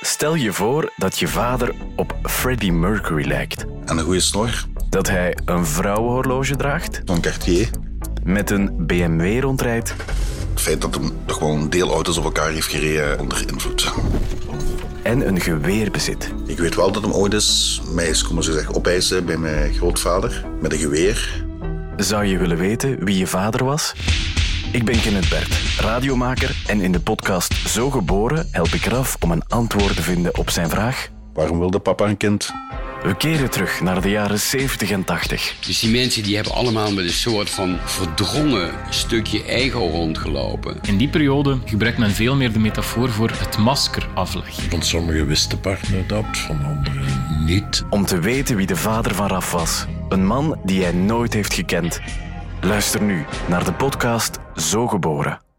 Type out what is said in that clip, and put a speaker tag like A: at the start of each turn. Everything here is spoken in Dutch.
A: Stel je voor dat je vader op Freddie Mercury lijkt.
B: En een goede snor
A: Dat hij een vrouwenhorloge draagt,
B: van Cartier.
A: met een BMW rondrijdt
B: Het feit dat hem toch wel een deel auto's op elkaar heeft gereden eh, onder invloed.
A: en een geweer bezit.
B: Ik weet wel dat hem ooit eens mij is komen ze zeggen opeisen bij mijn grootvader met een geweer.
A: Zou je willen weten wie je vader was? Ik ben Kenneth Bert, radiomaker en in de podcast Zo Geboren help ik Raf om een antwoord te vinden op zijn vraag.
B: Waarom wilde papa een kind?
A: We keren terug naar de jaren 70 en 80.
C: Dus die mensen die hebben allemaal met een soort van verdrongen stukje ego rondgelopen.
D: In die periode gebruikt men veel meer de metafoor voor het masker afleggen.
E: Van sommigen wist de partner dat, van anderen niet.
A: Om te weten wie de vader van Raf was. Een man die hij nooit heeft gekend. Luister nu naar de podcast Zo Geboren.